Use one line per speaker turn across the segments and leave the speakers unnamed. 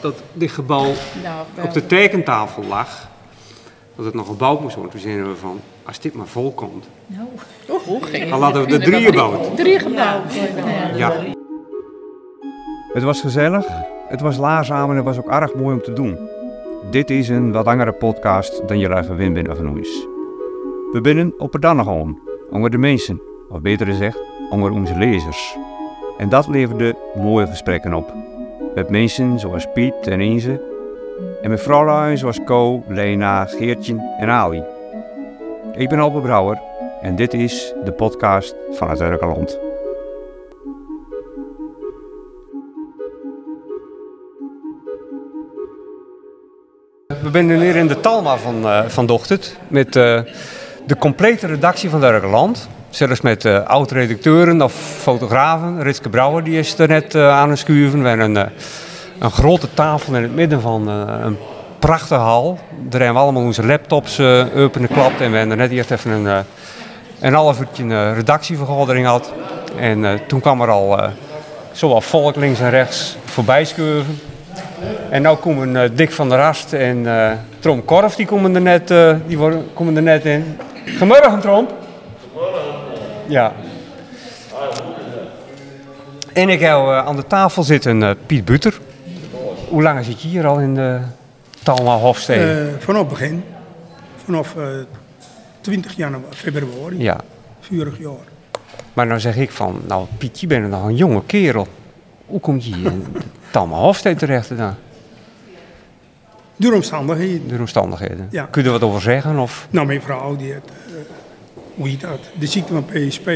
dat dit gebouw
Nou, wel.
op de tekentafel lag, dat het nog gebouwd moest worden. Toen zeiden we van, als dit maar vol komt,
Nou,
dan laten we er drie gebouwd.
drie gebouwen. Ja.
Ja.
Het was gezellig, het was laarzaam en het was ook erg mooi om te doen. Dit is een wat langere podcast dan je eigen win binnen van ons. We binnen op het dan gewoon, onder de mensen, of beter gezegd, onder onze lezers. En dat leverde mooie gesprekken op. Met mensen zoals Piet en Inze, en met vrouwen zoals Co, Lena, Geertje en Ali. Ik ben Alpe Brouwer en dit is de podcast van het Erkenland.
We zijn nu weer in de Talma van, eh vanochtend met eh, de complete redactie van Derkeland. Zelfs met eh, oud-redacteuren of fotografen. Ritske Brouwer die is er net eh, aan het schuiven. We hebben een, eh, een grote tafel in het midden van eh, een prachtige hal. Daar hebben we allemaal onze laptops eh open geklapt. En we hebben er net eerst even een, eh, een half uurtje een redactievergadering gehad. En eh, toen kwam er al eh zowel volk links en rechts voorbij schuiven. En nu komen eh, Dick van der Rast en eh, Trom Korf, die komen er net, eh, die worden, komen er net in. Goedemorgen, Trom. Ja. En ik heb eh, aan de tafel zitten eh, Piet Buter. Hoe lang zit je hier al in de Talma Hofstede?
Eh, vanaf het begin. Vanaf eh, 20 januari, februari,
ja.
vurig jaar.
Maar nou zeg ik van, nou Piet, je bent nog een jonge kerel. Hoe kom je hier in de Talma Hofstede terecht dan?
Door omstandigheden.
De omstandigheden.
Ja.
Kun je er wat over zeggen? Of?
Nou, mijn vrouw, die had, eh, hoe heet dat? De ziekte van PSP. Dat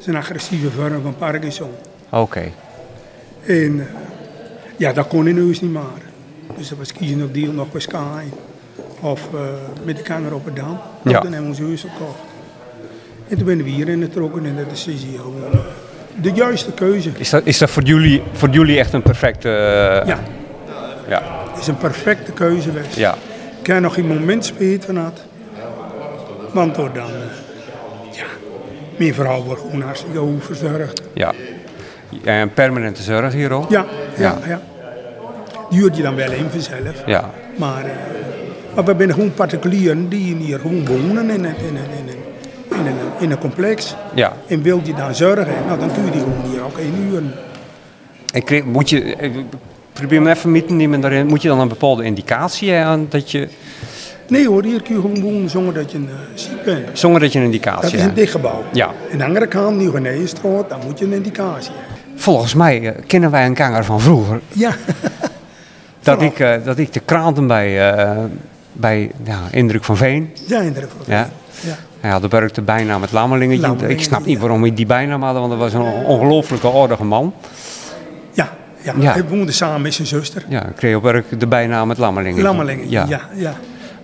is een agressieve vorm van Parkinson.
Oké.
En eh, ja, dat kon in huis niet maar. Dus dat was kiezen of deal nog bij Sky. Of eh, met de kamer op het Dam.
Ja.
Ja. Dan hebben we ons huis gekocht. En toen ben we hierin getrokken en dat is dus hier gewoon eh, de juiste keuze.
Is dat, is dat voor, jullie, voor jullie echt een perfecte... eh,
Ja,
Ja,
het is een perfecte keuze geweest.
ja.
Ik heb nog geen moment spijt van had. Want door dan, eh, ja, mijn vrouw wordt gewoon hartstikke goed verzorgd.
ja. En permanente zorg hier ook?
Ja, ja,
Ja.
ja. Die huurt je dan wel in vanzelf.
Ja.
Maar, eh, maar we zijn gewoon particulieren die hier gewoon wonen in een, in een, in een, in een, in een complex.
Ja.
En wil je dan zorgen, nou, dan kun je die gewoon hier ook in huren.
En kreeg- moet je, ik probeer me even mee te nemen daarin. Moet je dan een bepaalde indicatie hebben aan dat je,
Nee hoor, hier kun je gewoon wonen zonder dat je eh, ziek bent.
zonder dat je een
Dat
indicatie
is een
hebt?
dicht gebouw.
Ja.
En de andere kant, nieuw geneesstraat, dan moet je een indicatie hebben.
Volgens mij eh, kennen wij een kanger van vroeger.
Ja.
Dat
Vanaf.
ik, eh, dat ik de kranten bij, eh bij ja, Indruk van Veen.
Ja, inderdaad.
Ja.
ja.
Hij had de Burk de bijnaam het Lammelingetje. Ik
Lammelingetje,
snap niet
ja.
waarom hij die bijnaam had, want dat was een ongelooflijke aardige man.
ja, ja.
Ja.
Hij woonde samen met zijn zuster.
Ja, kreeg op werk de bijnaam het Lammelingetje.
Lammelingen.
Ja.
Ja. Ja,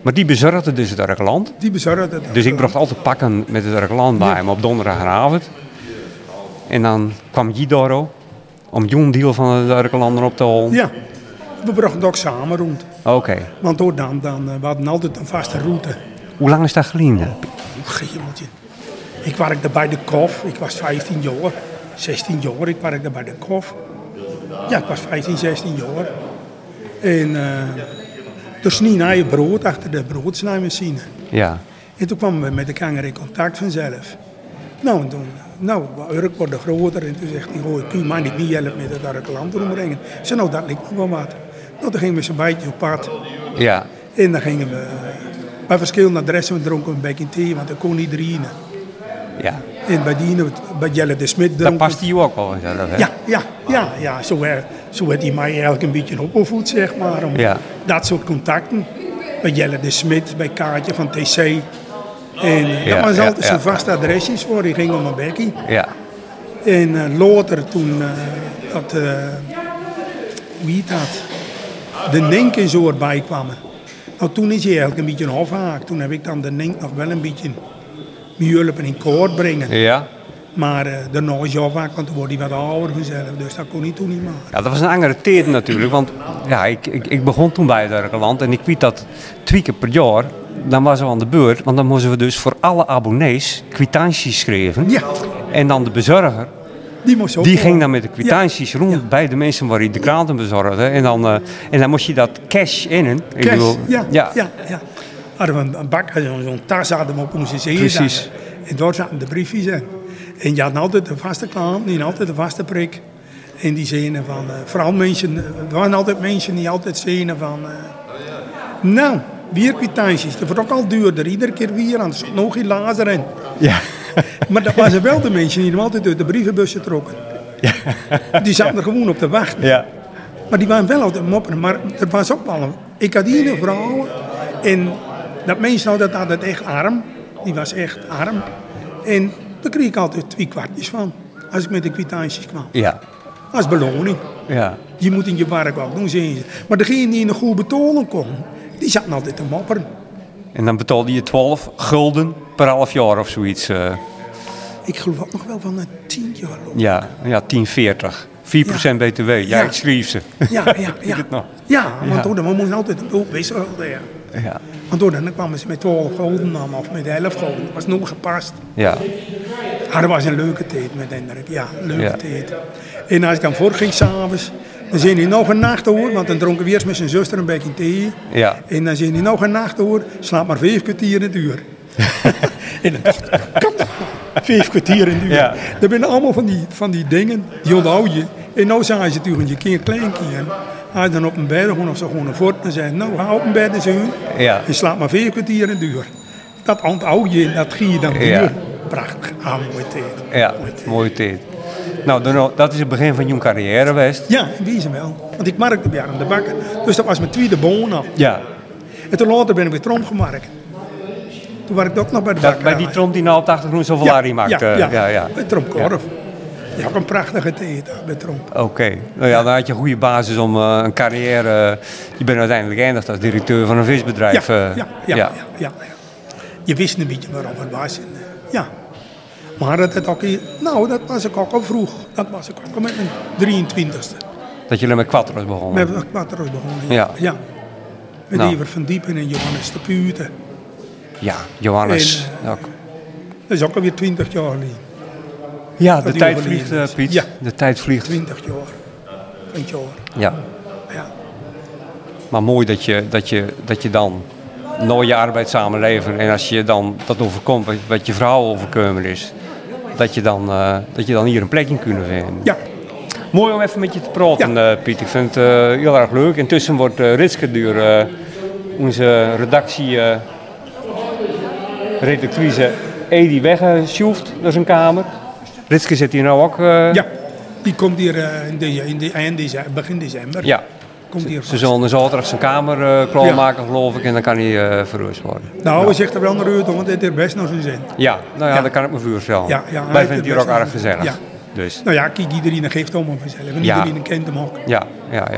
Maar die bezorgde dus het Erkland.
Die bezorgde dat.
Dus ik bracht altijd pakken met het Erkland bij hem op donderdagavond. En dan kwam Jidoro om John Deal van het Erkelander op te halen.
Ja. We brachten het ook samen rond.
Oké.
Want door dan, dan, eh, we hadden altijd een vaste route.
Hoe lang is dat geleden?
Oh, Geemeltje. Ik werkte bij de KOF. Ik was 15 jaar. 16 jaar. Ik werkte bij de KOF. Ja, ik was 15, 16 jaar. En eh toen snij je brood achter de broodsnijmachine.
Ja.
En toen kwamen we met de kanger in contact vanzelf. Nou, en toen, nou, Urk wordt groter en toen zegt hij, hoor, kun je mij niet meer helpen met het Urkland ombrengen? Ik zei, nou, dat lijkt me wel wat. Nou, toen gingen we z'n bijtje op pad
Ja.
en dan gingen we eh, bij verschillende adressen, we dronken een bekje thee, want dat kon iedereen.
ja.
En bij die, ene, bij Jelle de Smit
Dat
dronken...
past hij ook wel zelf, hè?
Ja, ja, ja, ja. Zo, eh, zo werd hij mij eigenlijk een beetje opgevoed, zeg maar. Om
Ja.
Dat soort contacten. Bij Jelle de Smit, bij Kaartje van TC. En eh,
Ja,
dat was
ja,
altijd
ja.
zo'n vaste adresjes voor. Die ging om een bekkie.
Ja.
En eh, later toen eh, dat, eh, hoe heet dat, de Nink en zo erbij kwamen. Nou, toen is hij eigenlijk een beetje een afhaak. Toen heb ik dan de Nink nog wel een beetje mijn hulpen in koord brengen.
Ja.
Maar eh daarna is hij afhaak, want toen wordt hij wat ouder vanzelf. Dus dat kon hij toen niet maken.
Ja, dat was een andere tijd natuurlijk, want ja, ik, ik, ik begon toen bij het Erkeland en ik weet dat twee keer per jaar, dan was we aan de beurt, want dan moesten we dus voor alle abonnees kwitanties schrijven.
Ja. Oh,
En dan de bezorger,
Die moest ook
Die
wel.
ging dan met de kwitanties rond bij de mensen waar hij de kranten bezorgde. En dan, eh, en dan moest je dat cash innen. Ik
Cash,
bedoel,
ja, ja.
ja.
ja, Hadden we een- een bak, hadden we zo'n tas hadden we op onze zee.
Precies.
En daar zaten de briefjes in. En je had altijd een vaste klant, die had altijd een vaste prik. En die zeiden van, eh, vooral mensen, er waren altijd mensen die altijd zeiden van... eh, nou, weer kwitanties. Dat wordt ook al duurder, iedere keer weer, want er zat nog geen lazer in.
Ja.
Maar dat waren wel de mensen die hem altijd uit de brievenbussen trokken. Die zaten er gewoon op te wachten.
ja.
Maar die waren wel altijd mopperen. Maar er was ook wel een... Ik had hier een vrouw. En dat meisje dat had het echt arm. Die was echt arm. En daar kreeg ik altijd twee kwartjes van. Als ik met de kwitanties kwam.
Ja.
Als beloning.
ja.
Je moet in je werk ook doen, zeggen ze. Maar degene die in de goede betolen kon, die zaten altijd te mopperen.
En dan betaalde je 12 gulden per half jaar of zoiets. eh.
Ik geloof ook nog wel van een tien jaar loon.
ja, ja 10,40. 4% BTW. Ja,
Ja.
ik schreef ze.
Ja, ja, ja.
het nog?
Ja,
Ja.
want toen we moesten altijd een doel wisselen. Ja.
Ja.
Want toen dan kwamen ze met 12 gulden aan of met 11 gulden. Dat was nog gepast.
Ja.
Ah, dat was een leuke tijd met Hendrik. Ja, een leuke
Ja.
tijd. En als ik dan voor ging s'avonds, dan zei hij nog een nacht hoor. Want dan dronken we eerst met zijn zuster een beetje thee.
Ja.
En dan zei hij nog een nacht hoor, slaap maar vijf kwartier in het uur. en dan dacht ik, hoe kan dat nou? Vijf kwartier in het uur.
Ja.
Dat zijn allemaal van die, van die dingen, die onthoud je. En nou zei ze natuurlijk, je kind klein kind. Als je dan op een bed gewoon of zo gewoon een fort, dan zei hij, nou ga op een bed eens een uur.
Ja.
En slaap maar vijf kwartier in het uur. Dat onthoud je en dat ging je dan
Ja.
weer. Prachtig, ah, mooie tijd.
Ja,
Mooie tijd.
mooie tijd. Nou, dan- dat is het begin van jouw carrière geweest.
Ja, in wezen wel. Want ik markte bij aan de bakker. Dus dat was mijn tweede boon al.
Ja.
En toen later ben ik weer trom gemarkt. Toen was ik ook nog bij de bakker.
bij die trom die nou op de achtergrond zoveel
Ja,
larie maakt.
Ja,
eh,
ja,
ja,
bij Tromkorf. Ja, ook een prachtige tijd daar bij Trom.
Oké, nou ja, dan had je een goede basis om eh, een carrière. eh, je bent uiteindelijk geëindigd als directeur van een visbedrijf.
ja,
eh,
ja, ja, ja. ja, ja. Je wist een beetje waarom het was. En, eh, ja. Maar dat het ook... hier- Nou, dat was ik ook al vroeg. Dat was ik ook al met mijn 23ste.
Dat jullie met Quattro's begonnen.
Met een kwaterus begonnen.
Ja.
ja. Met
Nou.
Iver van Diepen en Johannes de Puurte.
Ja, Johannes.
En,
ook.
Dat is ook alweer 20 jaar geleden.
Ja, de
dat die
tijd
overleden
vliegt, eh,
is.
Piet.
Ja.
De tijd vliegt.
20 jaar. 20 jaar.
Ja.
Ja.
Maar mooi dat je, dat je, dat je dan nooit je arbeid samen levert. En als je dan dat overkomt, wat, wat je vrouw overkomen is, dat je, dan, eh, dat je dan hier een plekje kunt vinden.
ja.
Mooi om even met je te praten, eh, Piet. Ik vind het eh, heel erg leuk. Intussen wordt eh Ritske Duur, eh, onze eh, redactie-redactrice Edi weggesjoefd naar zijn kamer. Ritske zit hier nou ook. eh,
Ja. Die komt hier eh, in de, in de, eind deze- begin december.
ja.
Komt hier
Ze zullen zaterdag zijn kamer eh, klaarmaken, geloof ik. En dan kan hij eh, verhuisd worden.
Nou, hij zegt er wel naar uit, want het heeft best nog zijn zin.
Ja, nou ja,
Ja.
dat kan ik me voorstellen.
Ja, ja,
Wij
hij
vinden het hier
heeft
ook
best
erg
een-
gezellig.
ja.
Dus,
Nou ja, kijk, iedereen geeft om op zichzelf. En
Ja.
iedereen kent hem ook.
ja, ja, ja.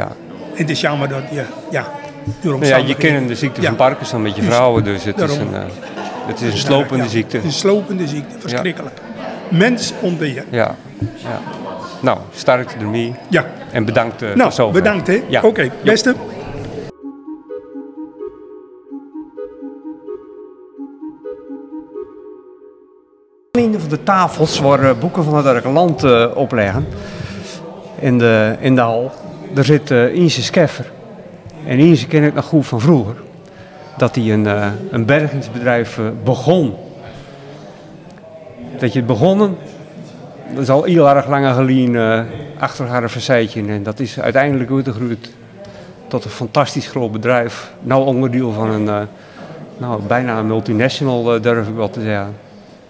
En het is jammer dat je, ja, door
Nou ja je
omstandigheden-
kent de ziekte
Ja.
van Parkinson met je vrouwen, dus het is een,
Daarom.
eh, het is een slopende
Ja,
ziekte.
Een slopende ziekte, verschrikkelijk. Mens ontbeer.
Ja, ja. Nou, sterkte ermee.
Ja.
En bedankt. eh, voor
Nou,
zover.
bedankt hè.
Ja.
Oké, beste.
Een van de tafels waar eh, boeken van het Arke Land eh, op liggen, in de, in de hal, daar zit eh Inse Skeffer. En Inse ken ik nog goed van vroeger. Dat hij een, eh, een bergingsbedrijf eh, begon. Dat je het begonnen, dat is al heel erg lang geleden eh, achter haar een verzeitje. En dat is uiteindelijk uitgegroeid tot een fantastisch groot bedrijf. Nou onderdeel van een, eh, nou, bijna een multinational eh, durf ik wel te zeggen.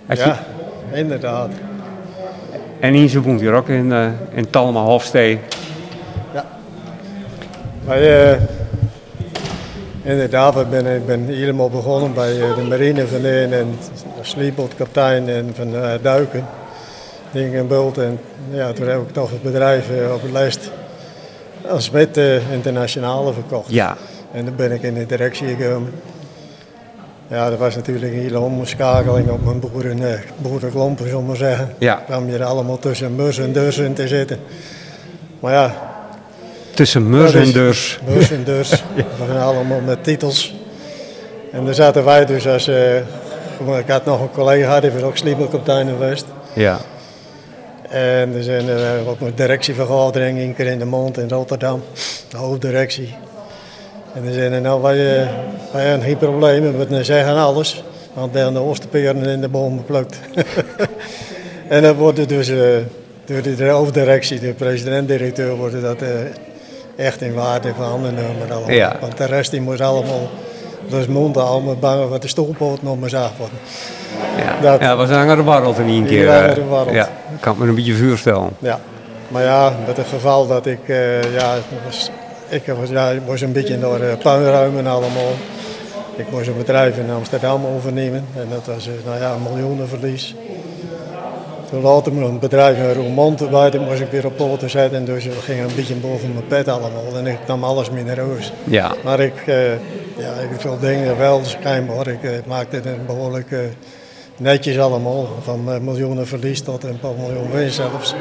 Als je-
Ja, inderdaad.
En Inze woont hier ook in, eh in Talma Hofstee.
Maar, eh, inderdaad, ik ben, ik ben helemaal begonnen bij eh, de marineverleen en sleepbootkaptein en van eh, duiken. Dingen en bult. En ja, toen heb ik toch het bedrijf eh, op de lijst als met eh, internationale verkocht.
Ja.
En dan ben ik in de directie gekomen. Ja, dat was natuurlijk een hele omschakeling op mijn boeren, eh boerenklompen, zullen we maar zeggen.
Ja.
Ik kwam hier allemaal tussen mus en dussen te zitten. Maar ja,
Tussen Meurs en Deurs.
Beurs en deurs. We zijn allemaal met titels. En daar zaten wij dus als... eh, ik had nog een collega, die was ook sleepelkapitein geweest.
Ja.
En er zijn eh, ook een directievergadering één keer in de mond in Rotterdam, de hoofddirectie. En dan zeiden nou wij, eh, wij hebben geen problemen, we eh, zeggen alles. Want dan de oosterperen in de boom geplukt. en dan wordt het dus eh, door de hoofddirectie, de president-directeur, wordt dat eh, echt in waarde veranderd. Allemaal.
Ja.
Want de rest die moest allemaal dus mond houden, maar bang wat de stoelpoot nog maar zaag worden.
Ja,
Dat-
ja, was een andere wereld in één
Een
keer.
andere
eh,
wereld.
Ja, kan ik me een beetje voorstellen.
Ja, maar ja, met het geval dat ik, eh, ja, het was, ik was, ja, ik moest een beetje door eh, puinruimen allemaal. Ik moest een bedrijf in Amsterdam overnemen en dat was, eh, nou ja, een miljoenenverlies. Toen later moest een bedrijf in Roermond erbij, dat moest ik weer op poten zetten. Dus dat ging een beetje boven mijn pet allemaal en ik nam alles minereus.
Ja.
Maar ik, eh, ja, ik veel dingen wel schijnbaar. Ik eh, maakte het behoorlijk eh, netjes allemaal. Van eh, miljoenen verlies tot een paar miljoen winst zelfs.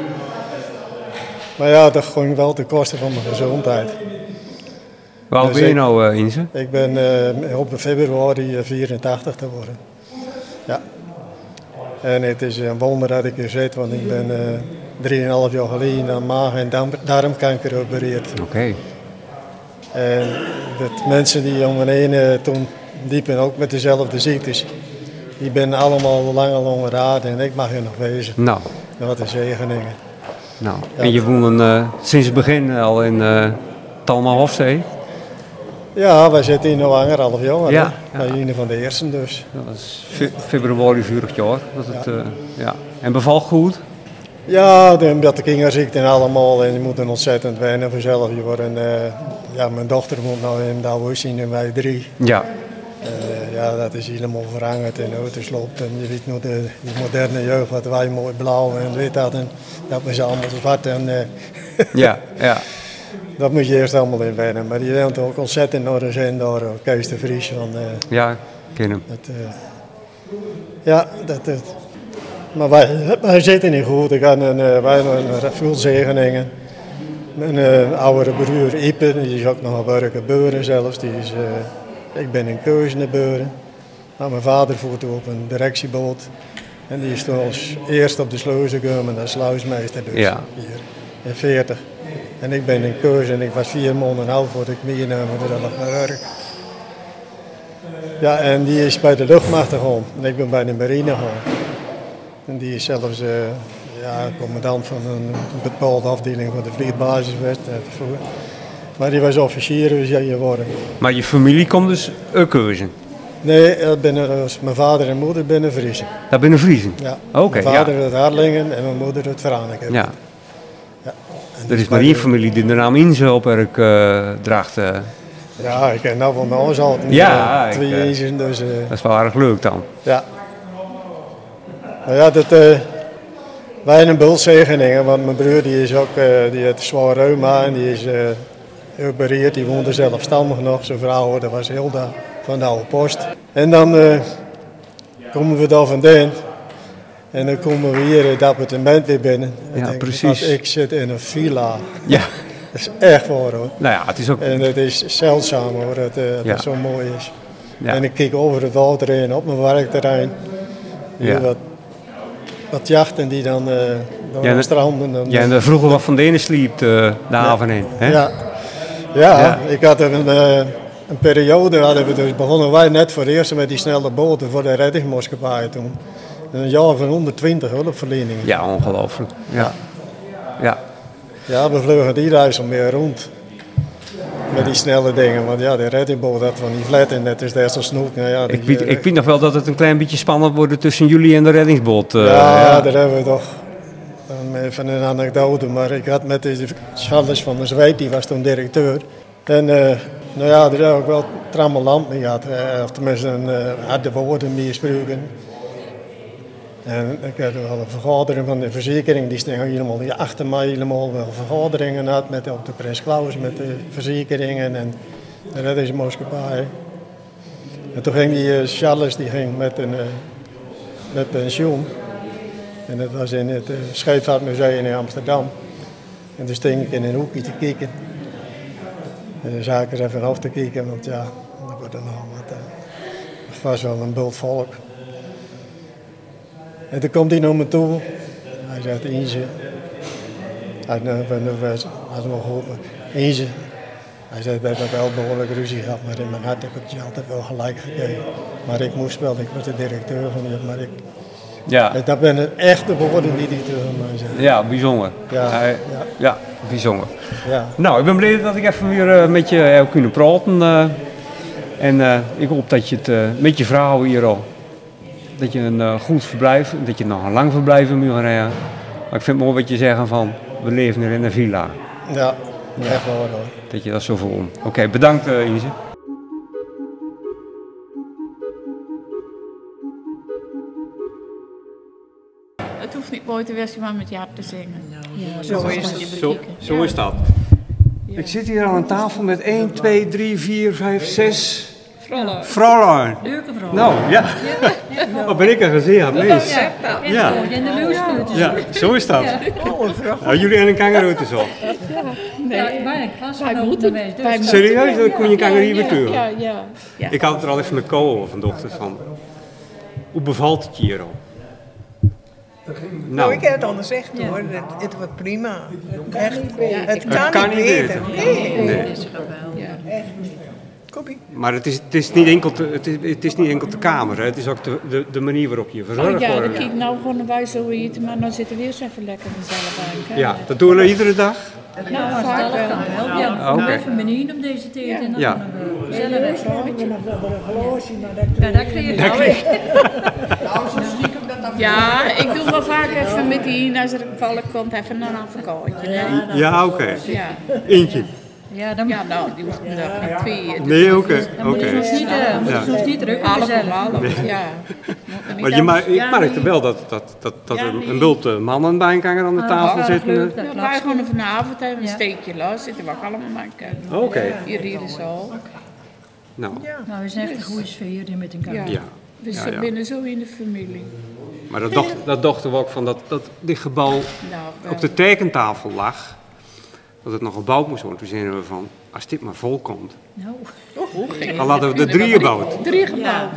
Maar ja, dat ging wel ten koste van mijn gezondheid.
Waar oud
Dus
ben je
ik-
nou, eh, Inze?
Ik ben eh, op februari eh, 84 te worden. Ja. En het is een wonder dat ik hier zit, want ik ben eh 3,5 jaar geleden aan maag- en darm- darmkanker opereerd.
Oké.
En dat mensen die om me heen eh, toen liepen ook met dezelfde ziektes. Die ben allemaal lange, lange raad en ik mag hier nog wezen.
Nou,
Wat een zegeningen.
nou.
Ja.
En je woont eh, sinds het begin al in eh Talma Hofstee.
Ja, wij zitten hier nog anderhalf jaar. hè?
Ja, ja.
Wij zijn een van de eersten dus.
Dat was fe- februari vorig jaar. Dat het, eh, ja. En bevalt goed?
Ja, de, dat de kinderziekte en allemaal. En je moet er ontzettend wennen vanzelf. Je wordt een, eh, ja, mijn dochter moet nou in de oude zien en wij drie.
Ja.
En, eh, ja, dat is helemaal verhangerd en auto's loopt. En je weet nog de, die moderne jeugd, wat wij mooi blauw en wit hadden. Dat was allemaal zwart en... eh,
Ja, ja.
Dat moet je eerst allemaal in wennen. Maar die woont ook ontzettend naar de zin door eh, Kees de Vries. Van, eh,
Ja, ik ken hem.
dat, eh, ja, dat... eh, dat. maar wij, wij zitten niet goed. Ik had een, eh, wij hebben een vuilzegeningen. Mijn eh, oudere broer Ipe, die is ook nog aan werken beuren zelfs. Die is, eh, ik ben in Keuzene beuren. Maar mijn vader voert op een directieboot. En die is toen als eerst op de sluizen gekomen als sluismeester dus.
Ja.
Hier, in 40. En ik ben in Keuze en ik was vier maanden oud voordat ik meegenomen werd aan mijn werk. Ja, en die is bij de luchtmacht gegaan. En ik ben bij de marine gegaan. En die is zelfs eh, ja, commandant van een bepaalde afdeling van de vliegbasis. werd, eh, vroeger. Maar die was officier, dus ja, je worden.
Maar je familie komt dus uit Keuzen.
Nee, eh, binnen, eh, mijn vader en moeder binnen Vriezen.
Daar binnen Vriezen.
Ja.
Oké,
mijn vader
ja.
uit Harlingen en mijn moeder uit Veraneken.
Ja. Er
En die
is maar
bij
één
de-
familie die de naam Inze op werk eh, draagt. eh.
Ja, ik ken nou van mijn ouders al
Ja,
eh,
ik,
twee
eh,
jezen, dus eh,
Dat is wel erg leuk dan.
ja. Nou ja, dat, eh wij hebben een bultzegeningen, want mijn broer die is ook, eh, die heeft zwaar reuma en die is eh opereerd, die woonde zelfstandig nog. Zijn vrouw, dat was Hilda van de oude post. En dan eh, komen we daar vandaan en dan komen we hier het appartement weer binnen. En
Ja,
denk ik,
precies.
"Wat, Ik zit in een villa.
Ja.
Dat is echt waar hoor.
Nou ja, het is ook...
En het is zeldzaam hoor, dat, eh, dat
Ja.
het zo mooi is.
Ja.
En ik kijk over het water heen, op mijn werkterrein. Hier
Ja.
wat, wat jachten die dan eh door
Ja,
de
dat-
stranden. Dan,
Jij en er vroeger wat van de ene sliep eh, de haven in. Hè?
ja. Ja,
Ja.
ik had er een, eh, een periode, hadden we dus begonnen wij net voor het eerst met die snelle boten voor de reddingsmaatschappij toen. Een jaar van 120 hulpverleningen.
Ja, ongelooflijk. Ja. Ja.
Ja, we vlogen die reis al meer rond. Met die snelle dingen, want ja, de reddingboot had van die flat en dat is des te snoek. Nou ja, die,
Ik, weet,
eh,
ik weet nog wel dat het een klein beetje spannend wordt tussen jullie en de reddingsboot. eh,
ja,
ja.
daar hebben we toch um, even een anekdote. Maar ik had met de Charles van der Zweet, die was toen directeur. En eh, nou ja, daar heb ik wel trammeland mee gehad. eh, of tenminste, een, eh, harde woorden mee gesproken. En ik had wel een vergadering van de verzekering. Die stond helemaal hier achter mij. Helemaal wel vergaderingen had met op de Prins Klaus met de verzekeringen en de reddingsmaatschappij. En toen ging die eh, Charles die ging met, een, eh, met pensioen. En dat was in het eh, Scheepvaartmuseum in Amsterdam. En toen sting ik in een hoekje te kijken. En dan zag ik er even af te kijken, want ja, dat wordt dan al wat. eh, Het was wel een bult volk. En toen komt hij naar me toe. Hij zegt, Inge, Hij had me geholpen. Eens, hij zei, we hebben wel behoorlijk ruzie gehad, maar in mijn hart heb ik je altijd wel gelijk gegeven. Maar ik moest wel, ik was de directeur van je, maar ik,
Ja,
dat ben een echte woorden die hij tegen mij zei.
ja bijzonder.
Ja,
Hij-
ja.
ja, bijzonder.
Ja.
Nou, ik ben blij dat ik even weer eh, met je heb kunnen praten. eh. en eh, ik hoop dat je het eh, met je vrouw hier al. Dat je een eh, goed verblijf, dat je nog een lang verblijf in Bulgarije. Maar ik vind het mooi wat je zegt van we leven er in een villa.
Ja, echt wel hoor.
Dat je dat zo voelt. Oké, bedankt eh Inze.
Het hoeft niet mooi te wezen, maar met je hart te zingen. Ja,
Zo is het. Zo, zo is dat. Ik zit hier aan een tafel met 1, 2, 3, 4, 5, 6
Vrolijk.
vrouwen.
Leuke vrouw.
Nou, ja. Wat ben ik een gezeerd mens. Ja.
Ja. In de leeuwspuurtjes. Ja.
Ja, zo is dat.
Oh,
Nou, jullie en een kangaroo te zo.
Ja, bijna een klasgenoot bij mij. Dus.
Serieus, dan kon je kangaroo weer terug.
Ja, ja.
Ik had het er al even met Ko over vanochtend van. Hoe bevalt het je hier al?
Nou, ik
Nou,
heb het al gezegd hoor, het, het wordt prima. Echt, het
het
kan, niet beter. Nee,
Nee.
koppie.
Maar het is, het is, niet, enkel te- het is, het is niet enkel de kamer, hè. het is ook de, de, de manier waarop je
Oh,
verzorgd
ja, dan
wordt.
kijk ik nou gewoon een wijze hoe je het, maar dan zitten we eerst even lekker mezelf aan.
Ja, dat doen we iedere dag.
Nou, vaak wel.
Ja, ja.
Oké.
even menu op deze tijd en dan
Ja.
gaan we gezellig Ja, dat kreeg je nou echt.
Ja, ik doe wel vaak even met die, als er een valk komt, even een avondkoortje. Ja.
Ja, oké.
Ja.
Eentje.
Ja, dan
ja, nou, die hoeft me dan geen twee. eh,
Nee, oké.
dan moet je
oké.
ons niet, eh, moet je
Ja.
ons niet druk
Half
jezelf.
om half, ja. Moet er niet
Maar je, ma-
anders-
ik merkte wel dat, dat, dat, dat
Ja,
er
nee.
een bult eh, mannen bij elkaar aan de
Ah,
tafel eh.
erg
zitten.
leuk,
Ja,
dat
wij
klopt.
gewoon vanavond hebben we een
Ja.
steekje los, zitten we ook allemaal maar kijken.
Oké,
Hier, hier is al.
nou,
Nou, we zijn echt een goede sfeer hier met elkaar.
Ja.
ja.
We
Ja, ja.
binnen zo in de familie.
Maar dat, dacht, dat dachten we ook van dat, dat dit gebouw
Nou, wel.
op de tekentafel lag. Dat het nog gebouwd moest worden. Toen zeiden we van, als dit maar vol komt,
Nou,
dan laten we de drieën bouwen.
Drie gebouwen.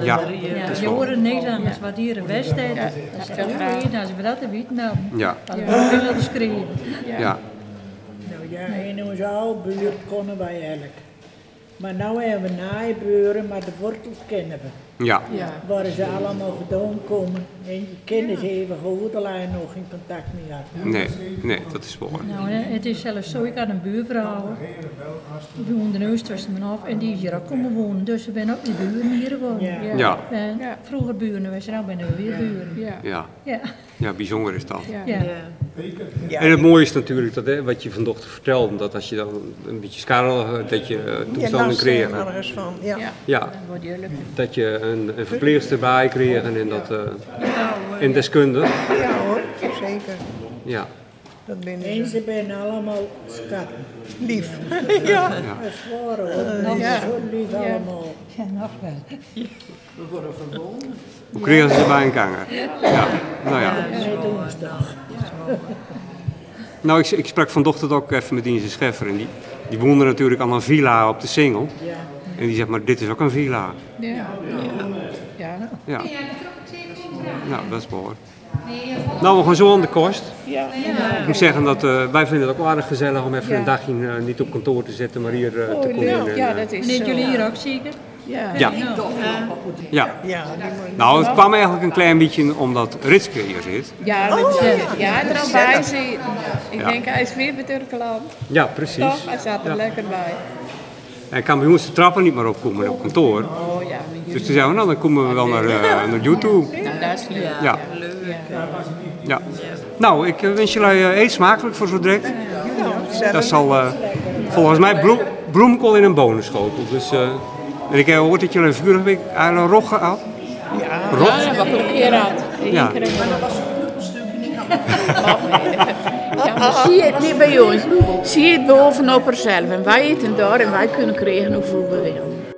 Ja,
ja,
dat is
je
wel.
hoort Nederlanders wat hier een wedstrijd
Ja,
is.
dat is
Ja,
heel graag.
als we dat weten, nou,
Ja,
als we dat willen dan schreeuwen.
ja.
Nou, Ja, in onze oude buurt konden wij eigenlijk. Maar nu hebben we naaiburen, maar de wortels kennen we.
Ja,
Waar ze allemaal vandaan komen. En je kennen ze even goed, alleen nog geen contact meer had.
nee, nee, dat is wel.
Nou, hè, het is zelfs zo, ik had een buurvrouw, die woonde in Oostersen af en die is hier ook komen wonen. Dus we zijn ook die buren hier geworden.
Ja.
Ja,
En
Ja.
vroeger buren, we zijn nu bijna weer buren.
Ja.
ja,
Ja.
ja, bijzonder is dat.
Ja.
Ja.
En het mooie is natuurlijk dat, hè, wat je vanochtend vertelde, dat als je dan een beetje scarrel, dat je eh,
Ja, nou,
toestanden creëert.
er ergens van, ja.
Ja.
Ja,
Dan worden jullie
dat je een, een verpleegster bij kreeg en dat, eh en deskundig.
Ja hoor, zeker.
Ja,
Dat binnen
En
ze.
ze zijn allemaal schatten.
Lief. ja.
Dat is waar hoor. Dat is zo lief allemaal.
Ja, nog wel.
hoe kregen ze bij een kanger? Ja, nou ja.
Dat doen ze toch.
Nou, ik, ik sprak vanochtend ook even met Dienst Scheffer. En die, die woonde natuurlijk aan een villa op de Singel. En die zegt, maar dit is ook een villa.
Ja. Ja.
Ja. Nou, dat is behoorlijk. Nou, we gaan zo aan de kost. Ik moet zeggen dat eh, wij vinden het ook aardig gezellig om even
Ja.
een dagje eh, niet op kantoor te zitten, maar hier eh, te komen.
Ja,
en,
ja,
eh,
dat is zo.
Neemt jullie hier ook zeker? Nou.
Ja.
ja. ja.
Ja, die moet-
Nou, het kwam eigenlijk een klein beetje omdat Ritske hier zit.
Ja, dat is- Oh. ja, er al bij zit. Ik
Ja.
denk, hij is weer bij Turkland.
Ja, precies.
Toch? Hij zat er
Ja.
lekker bij.
En kan bij ons de trappen niet meer opkomen op kantoor.
Oh ja, maar jullie.
Dus toen zeiden we, nou, dan komen we wel naar, eh, naar YouTube.
Nou, dat is leuk.
Ja. Ja. Nou, ik eh, wens jullie eh, eet smakelijk voor zo direct. Dat zal eh, volgens mij bloem, bloemkool in een bonenschotel. Dus, eh, en ik heb gehoord dat jullie een vurig week aan een rog gehad.
Ja, dat heb ik nog een keer had.
Ja.
Maar dat was een stukje niet. Ja, maar zie je het niet bij ons. Zie je het bovenop er zelf. En wij eten daar en wij kunnen krijgen hoeveel we willen.